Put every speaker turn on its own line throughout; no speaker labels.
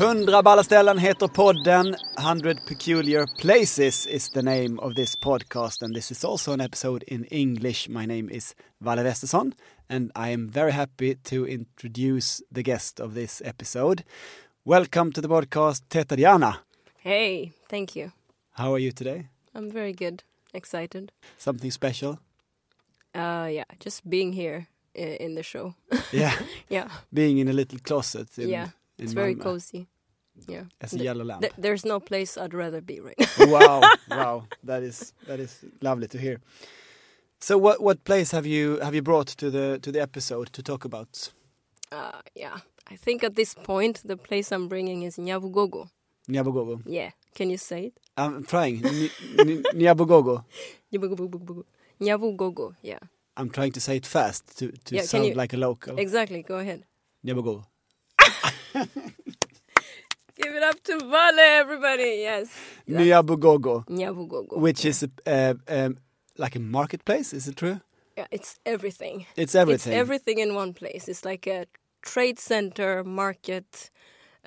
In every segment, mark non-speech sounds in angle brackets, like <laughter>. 100 balla ställen heter podden. 100 peculiar places is the name of this podcast and this is also an episode in English. My name is Valle Westesson and I am very happy to introduce the guest of this episode. Welcome to the podcast Tetariana.
Hey, thank you.
How are you today?
I'm very good. Excited.
Something
<laughs>
special?
Uh, yeah, just being here i- in the show. <laughs>
Yeah,
yeah,
being in a little closet in,
yeah.
in
It's very
Malmö
cozy. Yeah.
as a yellow lamp.
Th- there's no place I'd rather be right now. <laughs>
wow, wow, that is that is lovely to hear. So, what what place have you have you brought to the to the episode to talk about
Uh, yeah. I think at this point the place I'm bringing is Nyabugogo.
Nyabogogo?
Yeah. Can you say it?
I'm trying Ny- Ny- Nyabogogo.
Nyabugogo. Nyabugogo. Yeah.
I'm trying to say it fast to to
Yeah, can
sound
you-
like a local.
Exactly. Go ahead.
Nyabogogo.
Give it up to Vale, everybody. Yes.
Nyabogogo,
Nyabugogo.
which is a, uh, um, like a marketplace. Is it true?
yeah, it's everything.
It's everything.
It's everything in one place. It's like a trade center, market,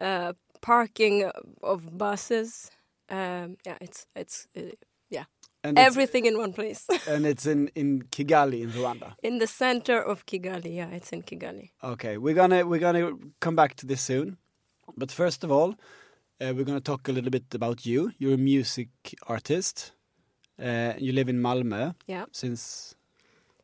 uh, parking of buses. Um, yeah, it's it's uh, yeah,
and it's,
everything in one place. <laughs>
and it's in in Kigali in Rwanda.
in the center of Kigali. Yeah, it's in Kigali.
Okay, we're gonna we're gonna come back to this soon, but first of all, uh, we're gonna talk a little bit about you. You're a music artist. Uh, you live in Malmö
Yeah,
since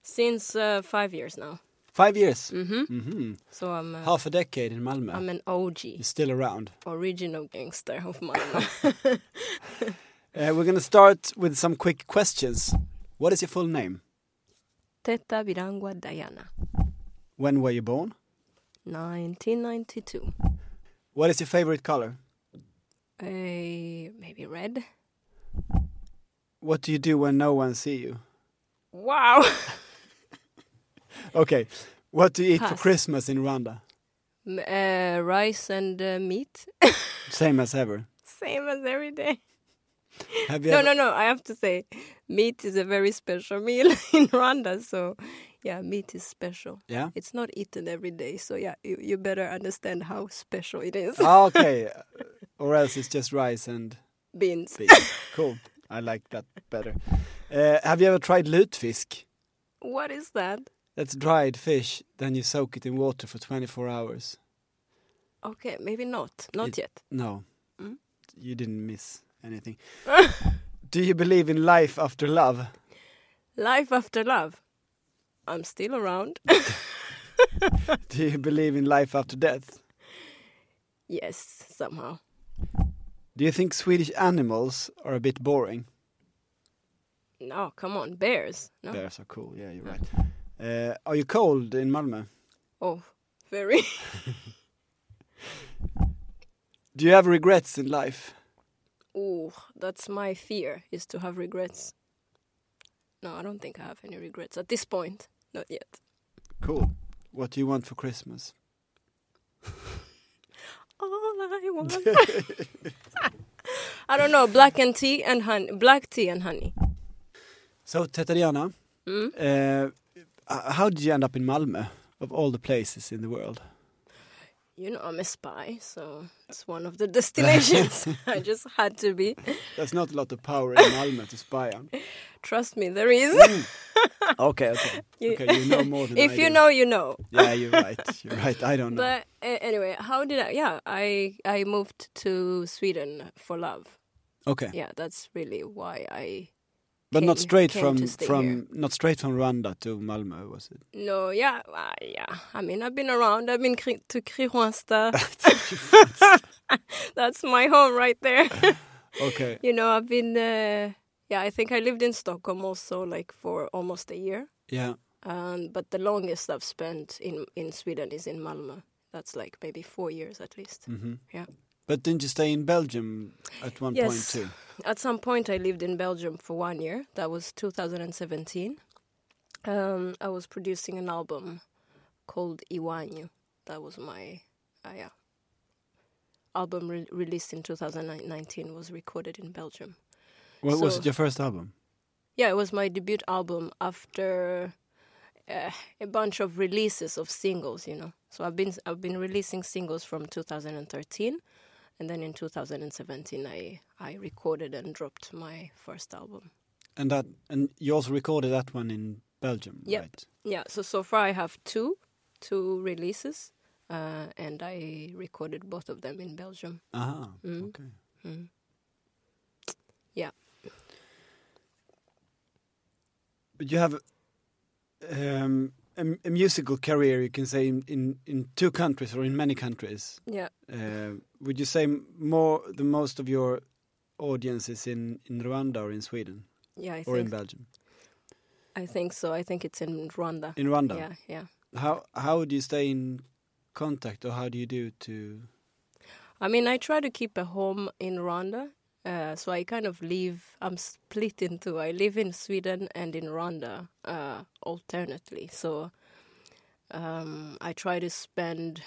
since uh, five years now.
five years,
hmm
hmm
So I'm uh,
half a decade in Malmö.
I'm an OG,
You're still around.
original gangster
<laughs>
of Malmö.
Uh, we're gonna start with some quick questions. What is your full name?
<laughs> Teta Virangua Diana,
When were you born?
1992.
What is your favorite color?
Uh, maybe red.
What do you do when no one see you?
Wow. <laughs>
Okay, what do you eat for
Pass.
Christmas in Rwanda?
M- uh, rice and uh, meat. <laughs>
Same as ever.
Same as every day.
Have you
No,
ever-
no, no. I have to say, meat is a very special meal <laughs> in Rwanda. So, yeah, meat is special.
Yeah.
It's not eaten every day. So, yeah, you, you better understand how special it is.
Ah, okay. or else it's just rice and
Beans.
beans. Cool. I like that better. Uh, have you ever tried lutfisk?
What is that?
That's dried fish, then you soak it in water for 24 hours.
Okay, maybe not. Not
It-
yet.
No,
Mm.
you didn't miss anything. Do you believe in life after love?
Life after love. I'm
<laughs>
still around.
Do you believe in life after death?
yes, somehow.
Do you think Swedish animals are a bit boring?
No, come on. Bears. No.
Bears are cool, yeah, you're right. Uh, are you cold in Malmö?
Oh, very. <laughs>
Do you have regrets in life?
Ooh, that's my fear is to have regrets. No, I don't think I have any regrets at this point. Not yet.
Cool. What do you want for Christmas?
All I want. I don't know. Black and tea and honey. Black tea and honey.
So, Tetariana,
Mm?
uh, h- how did you end up in Malmö, of all the places in the world?
You know, I'm a spy, so it's one of the destinations. I just had to be.
There's not a lot of power in Malmö to spy
<laughs>
on.
Trust me, there is.
Okay, okay.
<laughs> You-
Okay, you know more than
if
I
you
do.
know, you know.
Yeah, you're right. You're right. I don't know.
But uh, anyway, how did I? Yeah, I I moved to Sweden for love.
okay,
Yeah, that's really why I
but not
came-
straight
came
from
to stay
from
here.
not straight from Rwanda to Malmö, was it?
No, yeah, uh, yeah. I mean, I've been around. I've been cri- to Kristianstad. <laughs> That's my home right there. <laughs>
Okay,
you know, I've been. Uh, yeah, I think I lived in Stockholm also, like for almost a year.
yeah.
Um, but the longest I've spent in in Sweden is in Malmö. That's like maybe four years at least.
hmm
Yeah.
But didn't you stay in Belgium at one point
Yes.
too?
At some point, I lived in Belgium for one year. That was 2017. Um, I was producing an album called Iwanyu. That was my uh, yeah. album re- released in 2019 was recorded in Belgium.
What was
So-
it your first album?
Yeah, it was my debut album after uh, a bunch of releases of singles, you know. So I've been I've been releasing singles from 2013 And then in 2017, I, I recorded and dropped my first album.
And that and you also recorded that one in Belgium,
Yep.
right?
Yeah, so so far I have two, two releases, uh, and I recorded both of them in Belgium.
Ah,
Mm.
okay.
Mm. Yeah.
But you have um, a, m- a musical career, you can say, in, in, in two countries or in many countries.
Yeah,
Uh, would you say m- more the most of your audience is in, in Rwanda or in Sweden
yeah, I
or in
think
Belgium?
I think so. I think it's in Rwanda.
In Rwanda.
Yeah, yeah.
How how do you stay in contact, or how do you do to?
I mean, I try to keep a home in Rwanda. Uh, so I kind of live, I'm split into, I live in Sweden and in Rwanda uh, alternately. So um, I try to spend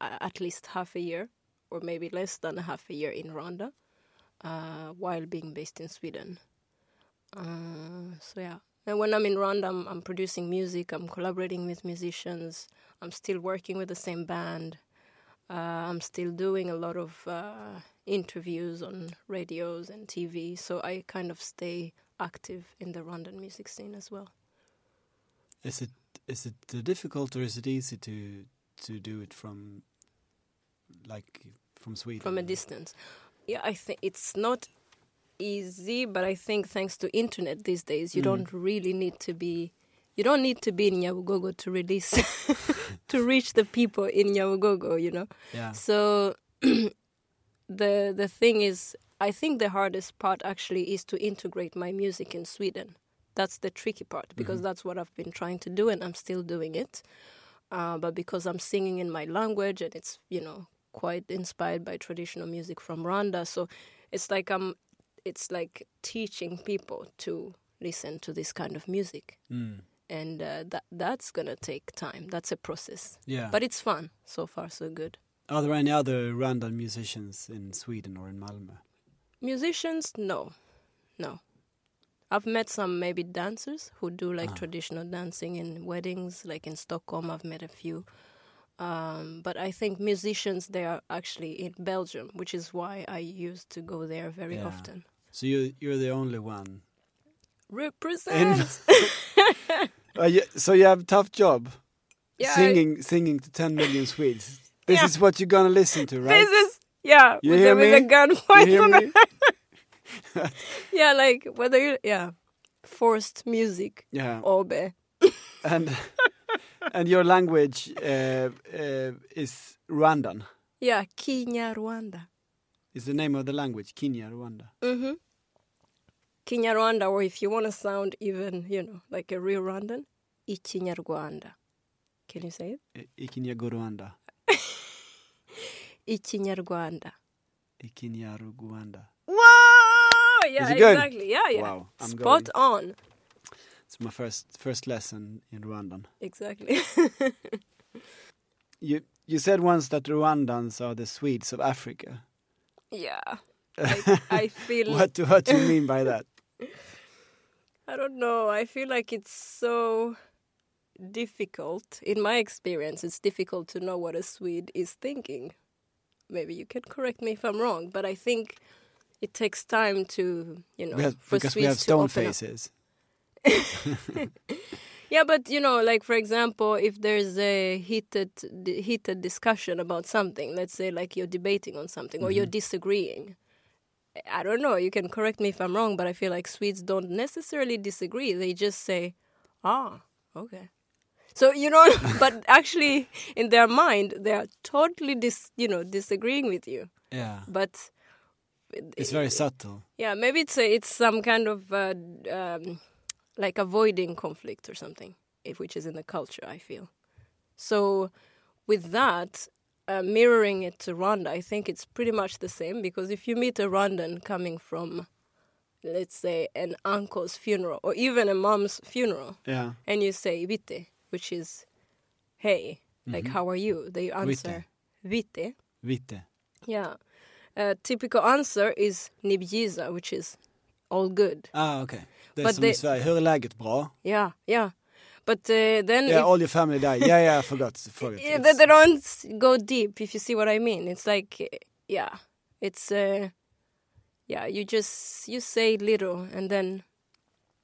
a- at least half a year or maybe less than half a year in Rwanda uh, while being based in Sweden. Uh, so yeah. And when I'm in Rwanda, I'm, I'm producing music, I'm collaborating with musicians, I'm still working with the same band. Uh, I'm still doing a lot of uh, interviews on radios and TV, so I kind of stay active in the Rwandan music scene as well.
Is it is it uh, difficult or is it easy to to do it from like from Sweden?
from a distance. Yeah, I think it's not easy, but I think thanks to internet these days, you
Mm.
don't really need to be you don't need to be in Nyabugogo to release <laughs> to reach the people in Nyabugogo, you know.
Yeah.
So <clears throat> the the thing is I think the hardest part actually is to integrate my music in Sweden. That's the tricky part because
Mm-hmm.
that's what I've been trying to do and I'm still doing it. Uh, but because I'm singing in my language and it's, you know, quite inspired by traditional music from Rwanda, so it's like I'm it's like teaching people to listen to this kind of music.
Mm.
And uh, that that's going to take time. That's a process.
Yeah.
But it's fun. So far so good.
Are there any other Rwandan musicians in Sweden or in Malmö?
Musicians, no, no. I've met some maybe dancers who do like
Ah.
traditional dancing in weddings, like in Stockholm. I've met a few, um, but I think musicians they are actually in Belgium, which is why I used to go there very
Yeah.
often.
So you you're the only one. <laughs>
Represent,
Uh, you, so you have a tough job
yeah, I-
singing singing to 10 million Swedes. This
<laughs> Yeah.
is what you're gonna listen to, right?
This is yeah,
You
with,
hear
the, with
me?
the gun
you
points
hear
on
me?
the- yeah, like whether you yeah, forced music, <laughs>
Yeah.
obe.
And <laughs> and your language uh, uh, is Rwandan.
Yeah, Kenya, Rwanda.
Is the name of the language Kenya, Rwanda.
Mm-hmm. Kinyarwanda, or if you want to sound even, you know, like a real Rwandan, Ikinyarwanda. Can you say it?
I- Ikinyago Rwanda.
Ikinyarwanda.
Ikinyaru Rwanda.
Whoa! Yeah,
Is it good?
exactly. Yeah, yeah.
Wow, I'm
Spot on.
It's my first first lesson in Rwandan.
Exactly. <laughs>
You you said once that Rwandans are the Swedes of Africa.
yeah. I,
<laughs>
I feel.
What do- what do you mean by that?
I don't know. I feel like it's so difficult. In my experience, it's difficult to know what a Swede is thinking. Maybe you can correct me if I'm wrong, but I think it takes time to, you know,
We have-
<laughs> for
because we
Swedes
have
to
stone
open up.
faces.
Yeah, but you know, like for example, if there's a heated d- heated discussion about something, let's say like you're debating on something or you're disagreeing. I don't know, you can correct me if I'm wrong, but I feel like Swedes don't necessarily disagree. They just say, "Ah, okay." So, you know, but actually in their mind they are totally dis, you know, disagreeing with you.
Yeah.
But
It's very subtle.
yeah, maybe it's a, it's some kind of uh, um, like avoiding conflict or something, if, which is in the culture. I feel so. With that, uh, mirroring it to Rwanda, I think it's pretty much the same because if you meet a Rwandan coming from, let's say, an uncle's funeral or even a mom's funeral,
Yeah.
and you say "vite," which is "hey," like "how are you?" They answer "vite."
Vite.
Yeah. A typical answer is nibjiza, which is all good.
Ah, okay. Det är
But Mm.
som i
they-
Sverige. Hur är läget? Bra?
Yeah, yeah. But uh, then
Yeah,
if-
all your family died. Yeah,
<laughs>
yeah, I forgot. forgot.
yeah,
It's-
they, they don't go deep, if you see what I mean. It's like, uh, yeah. It's uh, yeah, you just you say little and then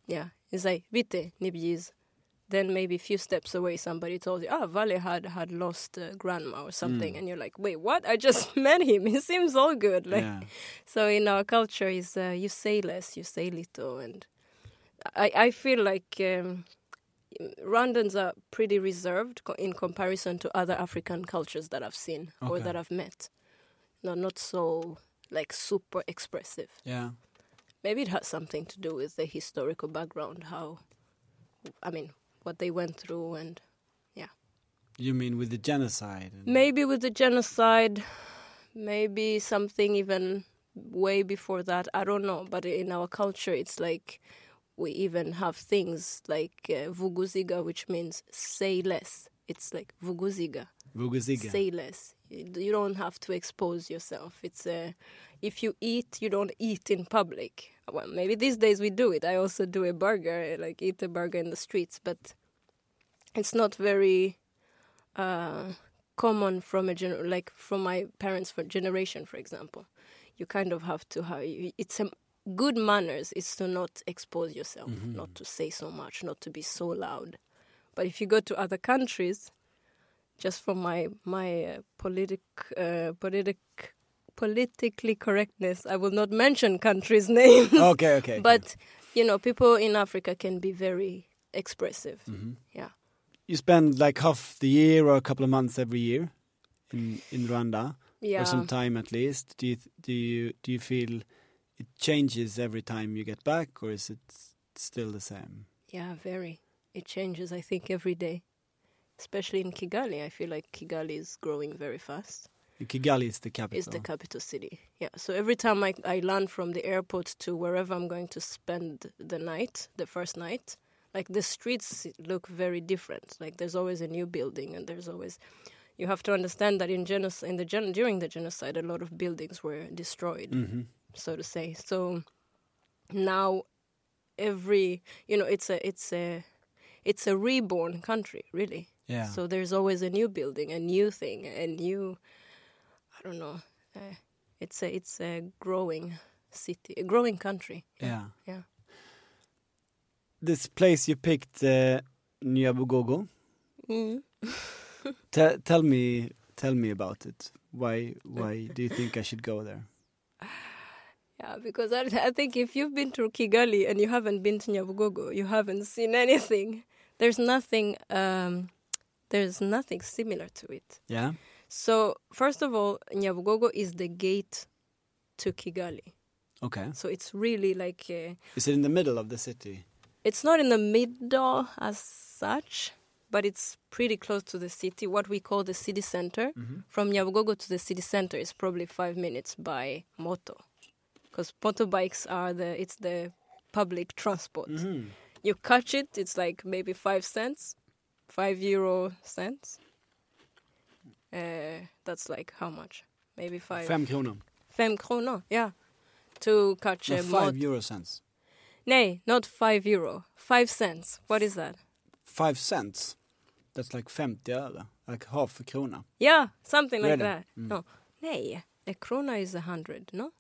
yeah, it's like vite nibjiz. Then maybe a few steps away, somebody told you, "Ah, Vale had had lost uh, grandma or
Mm.
something," and you're like, "Wait, what? I just <laughs> met him. He seems all good." Like,
Yeah.
so in our culture, is uh, you say less, you say little, and I I feel like um, Rwandans are pretty reserved co- in comparison to other African cultures that I've seen or
Okay.
that I've met. No, not so like super expressive.
Yeah.
Maybe it has something to do with the historical background, how, I mean, what they went through, and
You mean with the genocide? and-
maybe with the genocide, maybe something even way before that. I don't know. But in our culture, it's like we even have things like uh, vuguziga, which means say less. It's like vuguziga.
Vuguziga.
say less. You d- you don't have to expose yourself. It's uh, if you eat, you don't eat in public. Well, maybe these days we do it. I also do a burger, like eat a burger in the streets, but it's not very uh, common from a gener- like from my parents' for generation, for example. You kind of have to have. you- It's a good manners is to not expose yourself, not to say so much, not to be so loud. But if you go to other countries, just from my my uh, politic uh, politic politically correctness i will not mention countries <laughs> names
Okay, okay. okay.
but you know people in africa can be very expressive
Mm-hmm.
yeah
you spend like half the year or a couple of months every year in in Rwanda
yeah
or some time at least. Do you do you do you feel it changes every time you get back, or is it still the same?
yeah very it changes i think every day especially in kigali i feel like kigali is growing very fast
Kigali is the capital.
It's the capital city. Yeah. So every time I, I land from the airport to wherever I'm going to spend the night, the first night, like the streets look very different. Like there's always a new building, and there's always. You have to understand that in genocide, in the gen- during the genocide, a lot of buildings were destroyed,
Mhm.
so to say. So now, every you know, it's a it's a it's a reborn country, really.
Yeah.
So there's always a new building, a new thing, a new, I don't know. Uh, it's a it's a growing city, a growing country.
yeah.
yeah.
This place you picked, uh, Nyabugogo.
Mm.
<laughs> Te- tell me, tell me about it. Why, why do you think I should go there?
Yeah, because I, I think if you've been to Kigali and you haven't been to Nyabugogo, you haven't seen anything. There's nothing. Um, there's nothing similar to it.
Yeah.
So first of all, Nyabugogo is the gate to Kigali.
Okay.
So it's really like. Uh,
Is it in the middle of the city?
It's not in the middle as such, but it's pretty close to the city. What we call the city center.
Mm-hmm.
From Nyabugogo to the city center is probably five minutes by moto, because motorbikes are the it's the public transport.
Mm-hmm.
You catch it, it's like maybe five cents, five euro cents. Uh, that's like how much? Maybe five.
Fem kronor.
Fem kronor, yeah. To catch
No,
a
five
moto.
euro cents.
Nay, not five euro. Five cents. What is that?
Five cents. That's like 50 öre. Like half a krona.
Yeah, something like
Really?
that. No, nay, a krona is a hundred, no?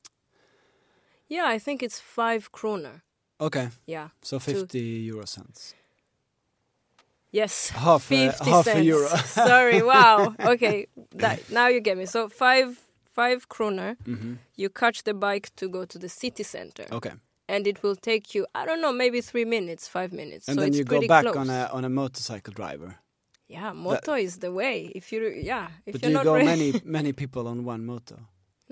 Yeah, I think it's five kroner.
Okay.
Yeah.
So 50 euro cents.
Yes.
Half a,
Fifty
half
cents.
a euro.
<laughs>
<laughs>
Sorry. Wow. Okay. That, now you get me. So five five kroner.
Mm-hmm.
You catch the bike to go to the city center,
Okay.
and it will take you I don't know maybe three minutes, five minutes.
And
so
then
it's
you go
pretty
back
close.
on a on a motorcycle driver.
yeah, moto is the way. If you yeah, if
but do you
you're not
go
<laughs> ready.
many many people on one motor?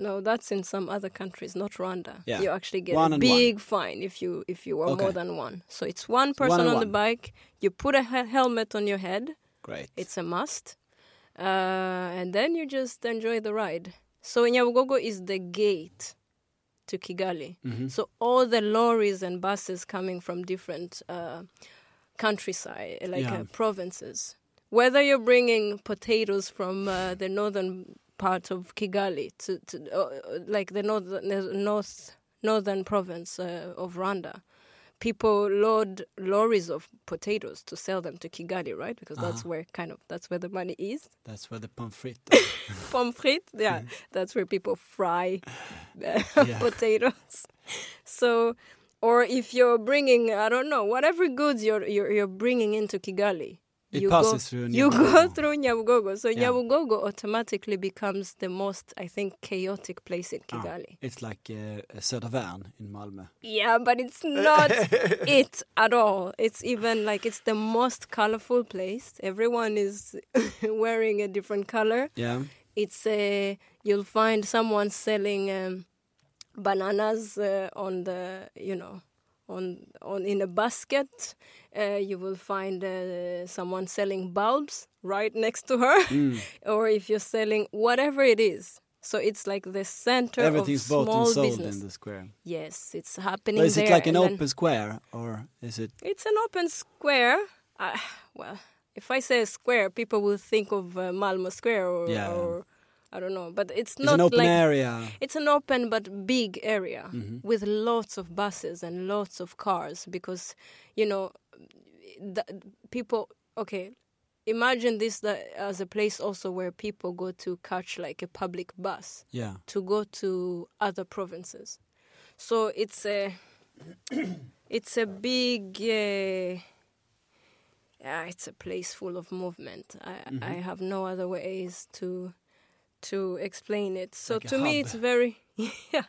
No, that's in some other countries, not Rwanda.
Yeah.
You actually get
One
a
and
big fine if you if you are
Okay.
more than one. So it's one person
and
on the
one.
bike. You put a he- helmet on your head.
Great.
It's a must. Uh, and then you just enjoy the ride. So Nyabugogo is the gate to Kigali. So all the lorries and buses coming from different uh, countryside, like
Yeah.
uh, provinces. Whether you're bringing potatoes from uh, the northern part of Kigali to, to uh, like the north, north northern province uh, of uh, Rwanda, people load lorries of potatoes to sell them to Kigali, right? Because that's where kind of that's where the money is.
That's where the pommes
<laughs>
frites.
Pommes frites, yeah, that's where people
<sighs>
fry <laughs> uh,
Mm. Yeah.
potatoes. So, or if you're bringing, I don't know, whatever goods you're you're, you're bringing into Kigali,
It
you go,
passes through
You go
Nyabugogo.
through Nyabugogo, so
Yeah.
Nyabugogo automatically becomes the most, I think, chaotic place in
Ah,
Kigali.
It's like uh, Södervärn in Malmö.
Yeah, but it's
<laughs>
not it at all. It's even like it's the most colorful place. Everyone is <laughs> wearing a different color.
Yeah.
It's a you'll find someone selling um, bananas uh, on the you know on on in a basket. Uh, you will find uh, someone selling bulbs right next to her,
Mm.
<laughs> or if you're selling whatever it is. So it's like the center
Everything's
of
bought
small
and sold
business.
in the square.
Yes, it's happening
But is
there.
it like an
and then-
open square or is it?
it's an open square. Uh, well, if I say square, people will think of uh, Malmo Square or,
Yeah, yeah.
or I don't know. But it's
It's
not
an open
like
area. Mm-hmm.
it's an open but big area with lots of buses and lots of cars because you know the, people. Okay, imagine this that as a place also where people go to catch like a public bus
Yeah.
to go to other provinces. So it's a <coughs> it's a big uh, yeah, it's a place full of movement. I I
Mm-hmm.
have no other ways to to explain it. So
Like a
to me,
hub.
it's very <laughs> yeah.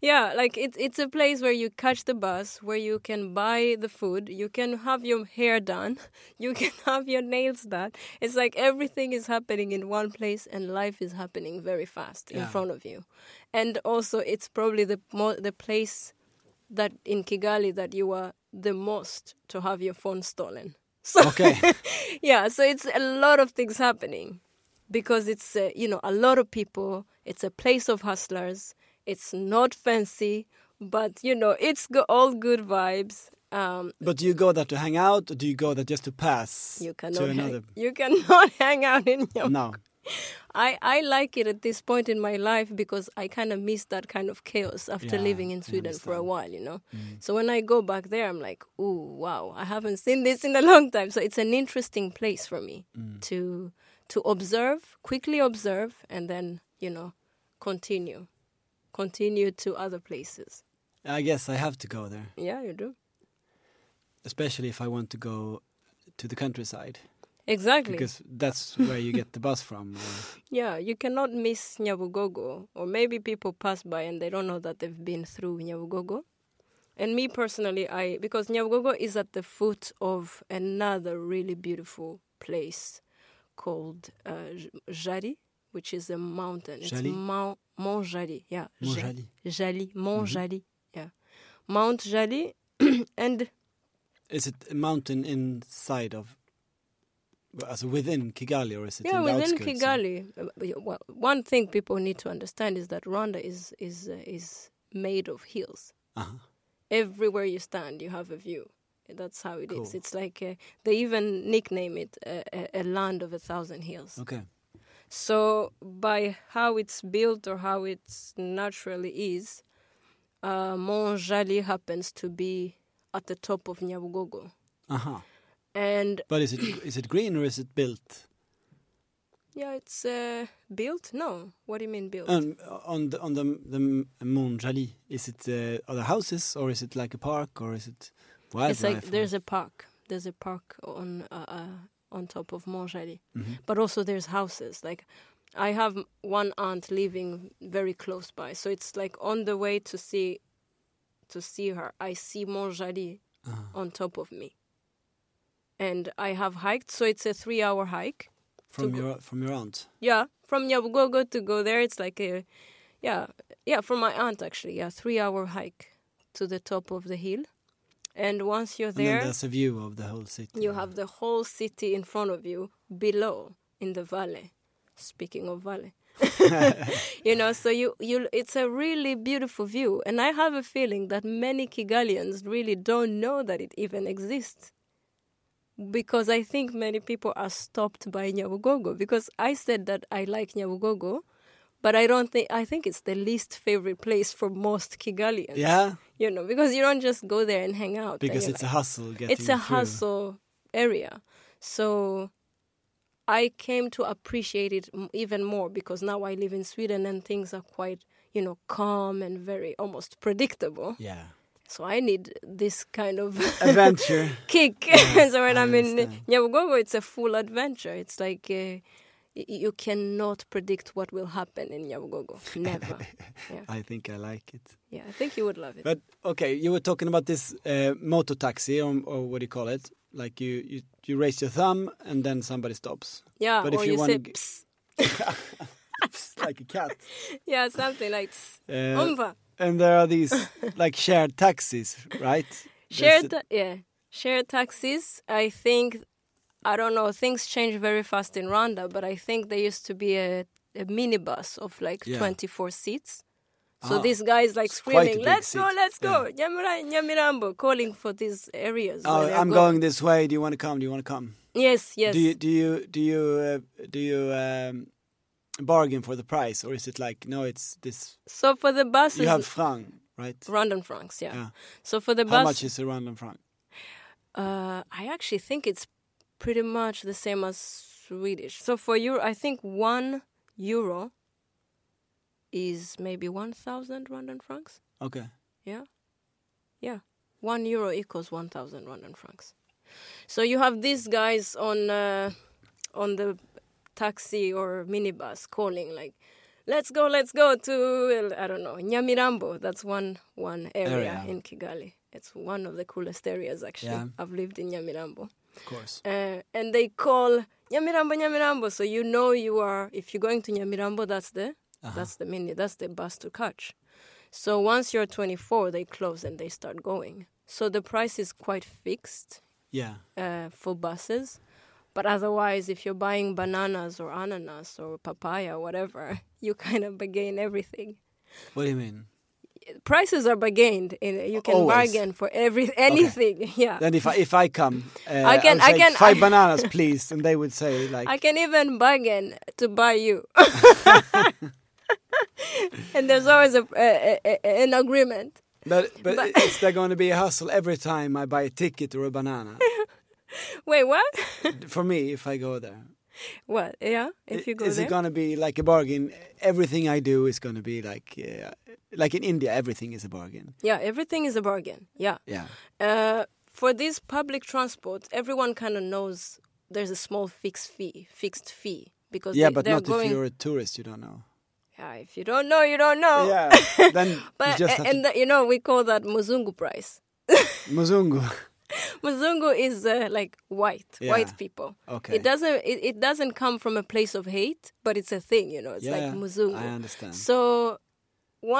Yeah, like it's it's a place where you catch the bus, where you can buy the food, you can have your hair done, <laughs> you can have your nails done. It's like everything is happening in one place, and life is happening very fast in
Yeah.
front of you. And also, it's probably the mo- the place that in Kigali that you are the most to have your phone stolen. <laughs> So
Okay.
yeah, so it's a lot of things happening because it's uh, you know a lot of people. It's a place of hustlers. It's not fancy, but you know it's go- all good vibes. Um,
but do you go there to hang out or do you go there just to pass
you
to
cannot
another?
hang, you cannot <laughs> hang out in your.
No.
I I like it at this point in my life because I kind of miss that kind of chaos after
Yeah,
living
I
in Sweden for a
understand. Mm.
while, you know. So when I go back there, I'm like, ooh, wow, I haven't seen this in a <laughs> long time. So it's an interesting place for me
Mm.
to to observe, quickly observe, and then you know, continue, continue to other places.
I guess I have to go there,
Yeah, you do
especially if I want to go to the countryside
exactly.
because that's where you get the bus from. Or,
Yeah, you cannot miss Nyabugogo. Or maybe people pass by and they don't know that they've been through Nyabugogo. And me personally, I because Nyabugogo is at the foot of another really beautiful place called uh, J- Jari, which is a mountain. It's
Jali?
Mount, Mont Jali. Yeah.
Mont
Ja-
Jali.
Jali. Mont Jali. Yeah. Mount Jali. <clears throat> and
is it a mountain inside of, as within Kigali, or is it
yeah,
in the
within
outskirts?
Kigali. uh, but, yeah, well, One thing people need to understand is that Rwanda is is uh, is made of hills.
Uh-huh.
Everywhere you stand, you have a view. That's how it is.
Cool.
It's like uh, they even nickname it a, a, a land of a thousand hills.
Okay.
So by how it's built or how it's naturally is, uh, Mont Jali happens to be at the top of Nyabugogo,
Uh huh.
and
But is it is it green or is it built?
yeah, it's uh, built. No, what do you mean built?
Um, on the on the the Mont Jali, is it uh, are there houses or is it like a park or is it wildlife?
it's like
or-
there's a park. There's a park on uh, uh, on top of Montjali,
Mhm.
but also there's houses. Like I have one aunt living very close by, so it's like on the way to see to see her. I see Montjali
Ah,
on top of me, and I have hiked. So it's a three-hour hike.
from
go-
your from your aunt.
Yeah, from Nyabugogo to go there, it's like a yeah, yeah, from my aunt actually. Yeah, three-hour hike to the top of the hill, and once you're
And
there.
then there's a view of the whole city.
You have the whole city in front of you, below in the valley. Speaking of valley, <laughs> you know, so you you it's a really beautiful view, and I have a feeling that many Kigalians really don't know that it even exists. Because I think many people are stopped by Nyabugogo. Because I said that I like Nyabugogo, but I don't think I think it's the least favorite place for most Kigalians.
Yeah.
you know, because you don't just go there and hang out.
Because
You're
it's
like-
a hustle getting
it's a
through.
hustle area. So I came to appreciate it m- even more because now I live in Sweden and things are quite, you know, calm and very almost predictable.
Yeah.
So I need this kind of
<laughs>
<laughs>
Adventure.
kick. <laughs> so when
I
I'm in
understand.
Nyabugogo, it's a full adventure. It's like uh, y- you cannot predict what will happen in Nyabugogo.
<laughs>
Never.
I think I like it.
yeah, I think you would love it.
But okay, you were talking about this uh, motor taxi, or, or what do you call it? Like you, you, you raise your thumb and then somebody <laughs> stops,
yeah,
but if
or
you
you, <laughs>
wanna
say,
g-
"Psst."
like a cat.
yeah, something like, "Psst,
Uh,
omva.
and there are
<laughs>
these like shared taxis, right? There's
Share
a-
ta- yeah, share taxis. I think I don't know. Things change very fast in Rwanda, but I think there used to be a, a minibus of like
Yeah.
24 seats. So
Ah,
this guy is like
it's quite a
screaming,
big
"Let's go,
seat."
let's go, Nyamira- Nyamirambo!" Calling for these areas. where
Oh,
they're
I'm going this way. Do you want to come? Do you want to come?
Yes, yes.
Do you do you do you uh, do you um, bargain for the price, or is it like no? It's this.
so for the buses,
You have franc, right?
Rwandan francs. Yeah.
Yeah.
So for the
How
bus,
much is a random franc?
Uh, I actually think it's pretty much the same as Swedish. So for euro, I think one euro is maybe one thousand Rwandan francs.
Okay.
Yeah, yeah, one euro equals one thousand Rwandan francs. So you have these guys on uh, on the taxi or minibus calling like. Let's go, let's go to I don't know Nyamirambo. That's one one area
Area.
in Kigali. It's one of the coolest areas actually.
Yeah.
I've lived in Nyamirambo
Of course.
uh, and they call Nyamirambo, Nyamirambo. So you know you are if you're going to Nyamirambo, that's the
Uh-huh.
that's the mini that's the bus to catch. So once you're 24, they close and they start going. So the price is quite fixed
Yeah.
uh, for buses, but otherwise, if you're buying bananas or ananas or papaya, whatever, <laughs> you kind of bargain everything.
What do you mean?
Prices are bargained. In, you can
Always.
bargain for every anything. <laughs> Yeah.
Then if I if I come, uh,
Uh, I
would
can-
say,
I can-
five
I-
bananas, please, and they would say like,
I can even bargain to buy
<laughs>
you. <laughs> and there's always a, a, a- a- an agreement.
but but,
but-
is there going to be a hustle every time I buy a ticket or a
<laughs>
banana <laughs>
Wait, what?
for me if I go there?
what? Yeah, if you go
is
there.
it going to be like a bargain? Everything I do is going to be like uh, like in India, everything is a bargain.
yeah, everything is a bargain. Yeah.
Yeah,
Uh, for this public transport, everyone kind of knows there's a small fixed fee, fixed fee because
yeah,
they,
but
they're
not
going.
if you're a tourist, you don't know.
yeah, if you don't know, you don't know. <laughs>
Yeah, then
Oh. But uh,
you just have
and
to,
the- you know we call that Muzungu price.
Muzungu.
<laughs> Muzungu is uh, like white,
Yeah.
white people.
Okay.
It doesn't it, it doesn't come from a place of hate, but it's a thing, you know. It's like Muzungu.
I understand.
So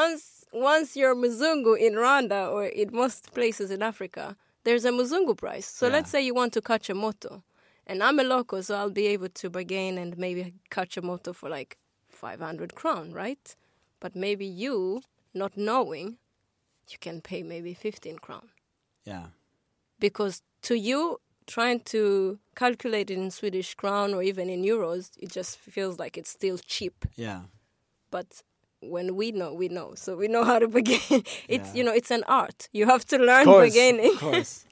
once once you're Muzungu in Rwanda or in most places in Africa, there's a Muzungu price. So
Yeah.
let's say you want to catch a moto, and I'm a local, so I'll be able to bargain and maybe catch a moto for like 500 crown, right? But maybe you, not knowing, you can pay maybe 15 crown
yeah,
because to you trying to calculate it in Swedish crown or even in euros, it just feels like it's still cheap.
yeah,
But when we know, we know, so we know how to begin. <laughs> It's
Yeah.
you know, it's an art. You have to learn
of course,
beginning. <laughs>
of course.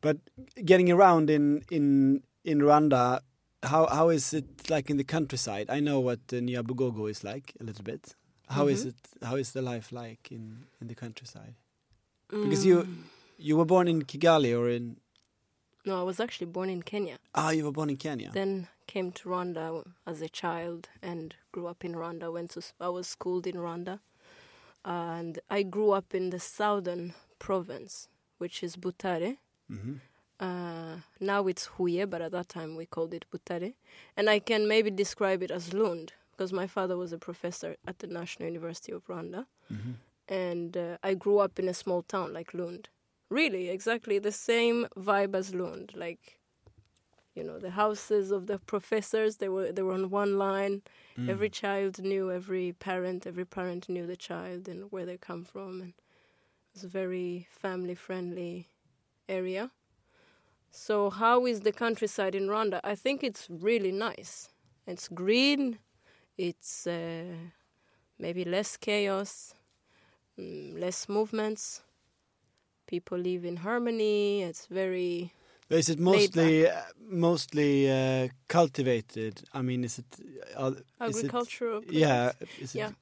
But getting around in in in Rwanda, how how is it like in the countryside? I know what uh, Nyabugogo is like a little bit. How
Mm-hmm.
is it? How is the life like in in the countryside? Because you
Mm.
you were born in Kigali or in
No, I was actually born in Kenya,
ah you were born in Kenya.
then came to Rwanda as a child and grew up in Rwanda. Went to s- I was schooled in Rwanda, and I grew up in the southern province, which is Butare.
hmm
uh, now it's Huye, but at that time we called it Butare. And I can maybe describe it as Lund, because my father was a professor at the National University of Rwanda. And uh, I grew up in a small town like Lund. Really, exactly the same vibe as Lund. Like, you know, the houses of the professors, they were, they were on one line.
Mm.
Every child knew every parent, every parent knew the child and where they come from. And it was a very family friendly area. So, how is the countryside in Rwanda? I think it's really nice. It's green, it's uh, maybe less chaos. mm, less movements. People live in harmony. It's very
Is it mostly mostly uh, cultivated? I mean, is it uh, is it
agricultural.
yeah? Is it
Yeah.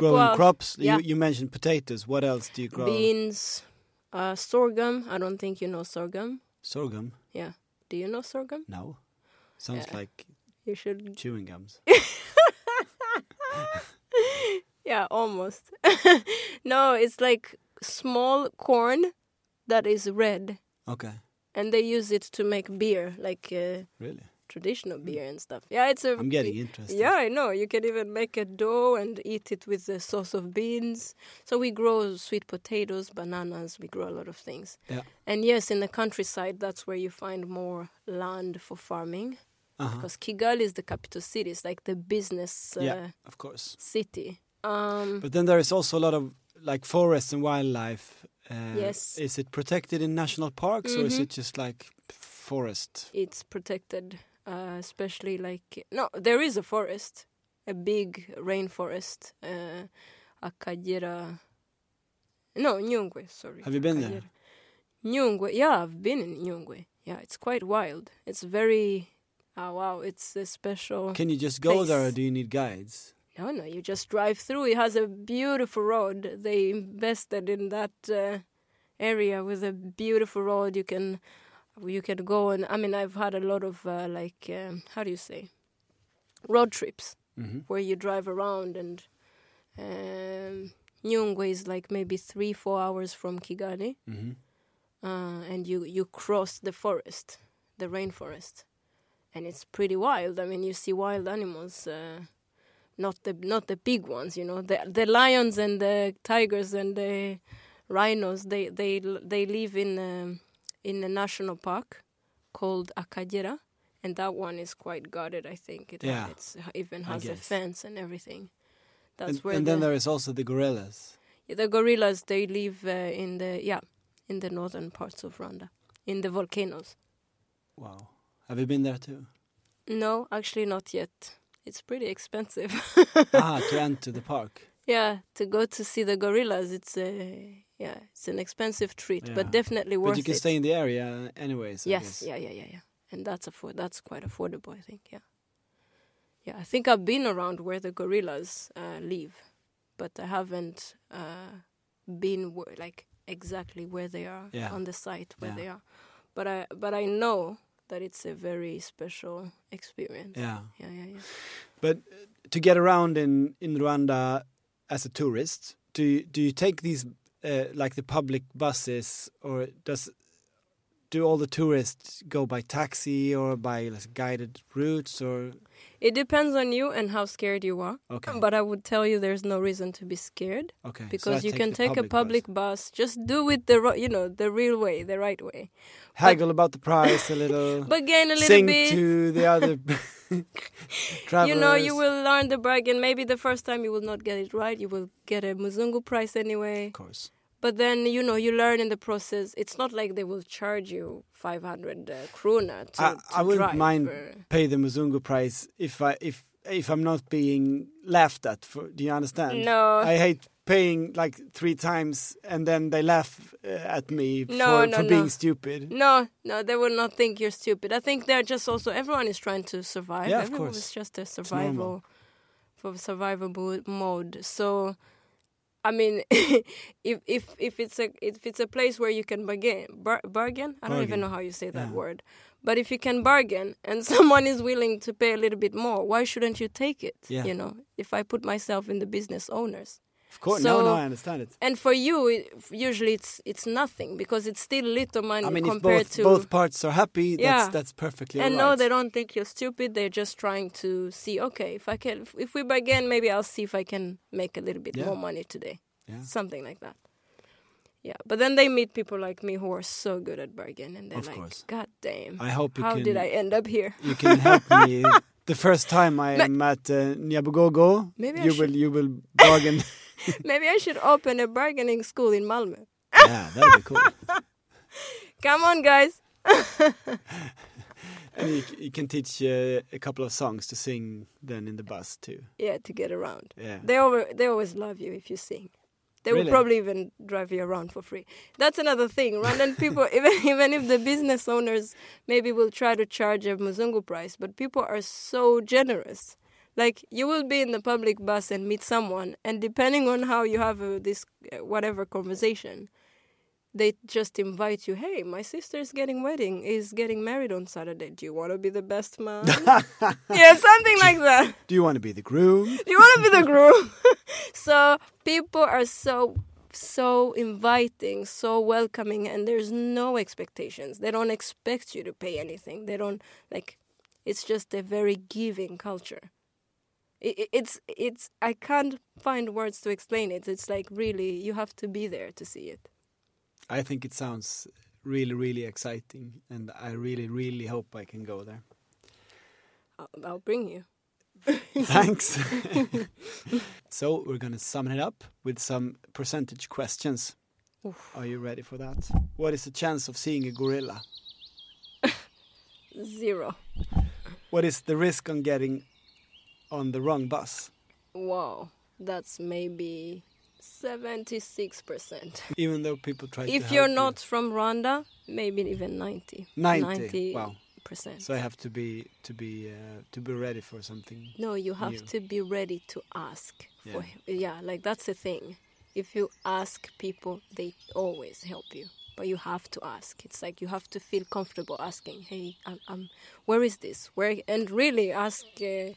growing
are-
crops?
yeah.
You, you mentioned potatoes. What else do you grow?
beans, uh, sorghum. I don't think you know sorghum.
Sorghum?
Yeah. Do you know sorghum?
No. Sounds
Yeah.
like
You should.
chewing
<laughs>
gums.
Yeah, almost. <laughs> no, it's like small corn that is red,
Okay,
and they use it to make beer, like uh,
really?
traditional beer and stuff. Yeah, it's a.
I'm getting interested.
Yeah, I know. You can even make a dough and eat it with the sauce of beans. So we grow sweet potatoes, bananas, we grow a lot of things.
Yeah.
And yes, in the countryside, that's where you find more land for farming
Uh-huh.
because Kigali is the capital city, it's like the business uh,
Yeah, of course.
city. Um,
But then there is also a lot of like forests and wildlife. Uh,
Yes.
Is it protected in national parks or is
Mhm.
it just like forest?
it's protected, uh, especially like. No, there is a forest, a big rainforest, uh, Akajira. No, Nyungwe, sorry.
Have you been there?
Akajira. Nyungwe, yeah, I've been in Nyungwe. Yeah, it's quite wild. It's very. Oh, wow, it's a special.
Can you just go there or
Place.
do you need guides?
No, no, you just drive through. It has a beautiful road. They invested in that uh, area with a beautiful road. You can, you can go and I mean, I've had a lot of uh, like, um, how do you say, road trips
hmm
where you drive around and um, Nyungwe is like maybe three, four hours from Kigali,
hmm
uh, and you you cross the forest, the rainforest, and it's pretty wild. I mean, you see wild animals, uh, not the not the big ones, you know, the the lions and the tigers and the rhinos. They they they live in um, in a national park called Akajera, and that one is quite guarded. I think it
Yeah,
it's, even
I
has a
guess.
fence and everything. That's
And,
where
and
the,
then there is also the gorillas.
the gorillas they live uh, in the yeah in the northern parts of Rwanda in the volcanoes.
Wow. Have you been there
<laughs>
too?
No, actually not yet. It's pretty expensive. <laughs>
ah, to enter the park.
yeah, to go to see the gorillas, it's a yeah, it's an expensive treat,
Yeah.
but definitely worth
But you can
it.
stay in the area anyways. I
yes,
guess.
yeah, yeah, yeah, yeah, and that's afford that's quite affordable, I think. Yeah, yeah, I think I've been around where the gorillas uh, live, but I haven't uh, been where, like exactly where they are
Yeah.
on the site where
Yeah.
they are. But I but I know that it's a very special experience.
Yeah.
yeah, yeah. yeah.
But to get around in, in Rwanda as a tourist, do you, do you take these uh, like the public buses, or does do all the tourists go by taxi or by like, guided routes? Or
It depends on you and how scared you are.
okay,
But I would tell you there's no reason to be scared
okay, so I
because you can
the
take a public
bus.
bus. Just do it the ro- you know the real way, the right way.
haggle about the price a little,
<laughs> But gain a little
sing
bit.
to the
<laughs>
other <laughs> travelers.
you know, you will learn the brag, and maybe the first time you will not get it right. You will get a Muzungu price anyway.
of course.
But then you know you learn in the process. It's not like they will charge you 500 uh, krona to,
I,
to
I wouldn't
drive uh,
mind
or-
pay the Muzungu price if I if if I'm not being laughed at. For do you understand?
No.
I hate paying like three times and then they laugh uh, at me
No,
for,
no,
for
no.
being stupid.
No, no, they will not think you're stupid. I think they're just also everyone is trying to survive.
Yeah, of
Everyone
course.
is just a
normal.
survival for survival mo- mode. So I mean, <laughs> if if if it's a if it's a place where you can bargain, bar- bargain, I don't
Bargain.
even know how you say that
Yeah.
word, but if you can bargain and <laughs> someone is willing to pay a little bit more, why shouldn't you take it?
Yeah.
You know, if I put myself in the business owners,
Of course, no, no,
So-
I understand it.
and for you, it, usually it's it's nothing because it's still little money
I mean, if
compared
both
to
both parts are happy,
Yeah.
that's that's perfectly
and
all
no,
right.
they don't think you're stupid. They're just trying to see, okay, if I can, if we begin, maybe I'll see if I can make a little bit
Yeah.
more money today.
Yeah.
Something like that. Yeah. But then they meet people like me who are so good at bargain and they're
Of
like,
course.
God damn.
I hope you
how
can
did I end up
<laughs>
here?
you can help
<laughs>
me. The first time I am at uh, Nyabugogo,
Maybe I
you will
should-
you will
<laughs>
bargain.
Maybe I should open a bargaining school in Malmö.
yeah, that'd be cool.
Come on, guys.
And you, you can teach uh, a couple of songs to sing then in the bus too.
Yeah, to get around.
Yeah.
They always, they always love you if you sing. They
Really?
will probably even drive you around for free. That's another thing. Rwandan people, <laughs> even even if the business owners maybe will try to charge a Muzungu price, but people are so generous. Like you will be in the public bus and meet someone, and depending on how you have uh, this uh, whatever conversation, they just invite you. Hey, my sister's getting wedding is getting married on Saturday. Do you want to be the best
<laughs>
man? yeah, something like that.
Do you want to be the groom?
Do you want to be the groom? <laughs> so people are so so inviting, so welcoming, and there's no expectations. They don't expect you to pay anything. They don't like. It's just a very giving culture. It, it- it's it's I can't find words to explain it. It's like really you have to be there to see it.
I think it sounds really, really exciting, and I really, really hope I can go
<laughs>
there.
I'll, I'll bring you. <laughs>
Thanks. <laughs> so we're going to sum it up with some percentage questions. Are you ready for that? What is the chance of seeing a gorilla?
Zero.
What is the risk on getting on the wrong bus?
Wow, that's maybe seventy six percent.
Even though people try to
if
help
you're
you.
not from Rwanda, maybe even 90.
90. Wow.
percent.
So I have to be to be uh, to be ready for something.
no, you have
You.
to be ready to ask
Yeah.
for help. Yeah, like that's the thing. If you ask people, they always help you. But you have to ask. It's like you have to feel comfortable asking, "Hey, um, um where is this? Where?" And really ask uh,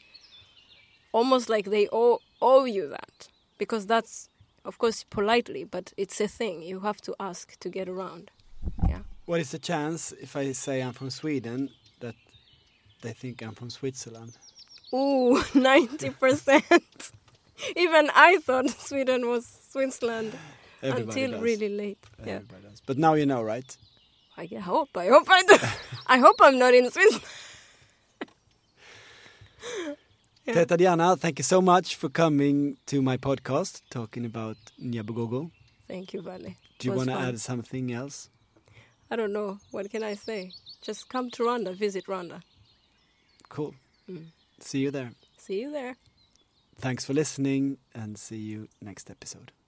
almost like they owe, owe you that because that's of course politely, but it's a thing. You have to ask to get around. Yeah.
What is the chance if I say I'm from Sweden that they think I'm from Switzerland?
Ooh, <laughs> 90%. Even I thought Sweden was Switzerland
Everybody
until
does.
really late. Yeah.
Everybody does. But now you know, right?
I g- hope. I hope I
<laughs>
do. I hope I'm not in Switzerland. Yeah.
Teta Diana, thank you so much for coming to my podcast talking about Nyabogogo.
Thank you, Vale.
Do you
Was
want to
fun.
add something else?
I don't know. What can I say? Just come to Rwanda, visit Rwanda.
Cool.
Mm.
See you there.
See you there.
Thanks for listening and see you next episode.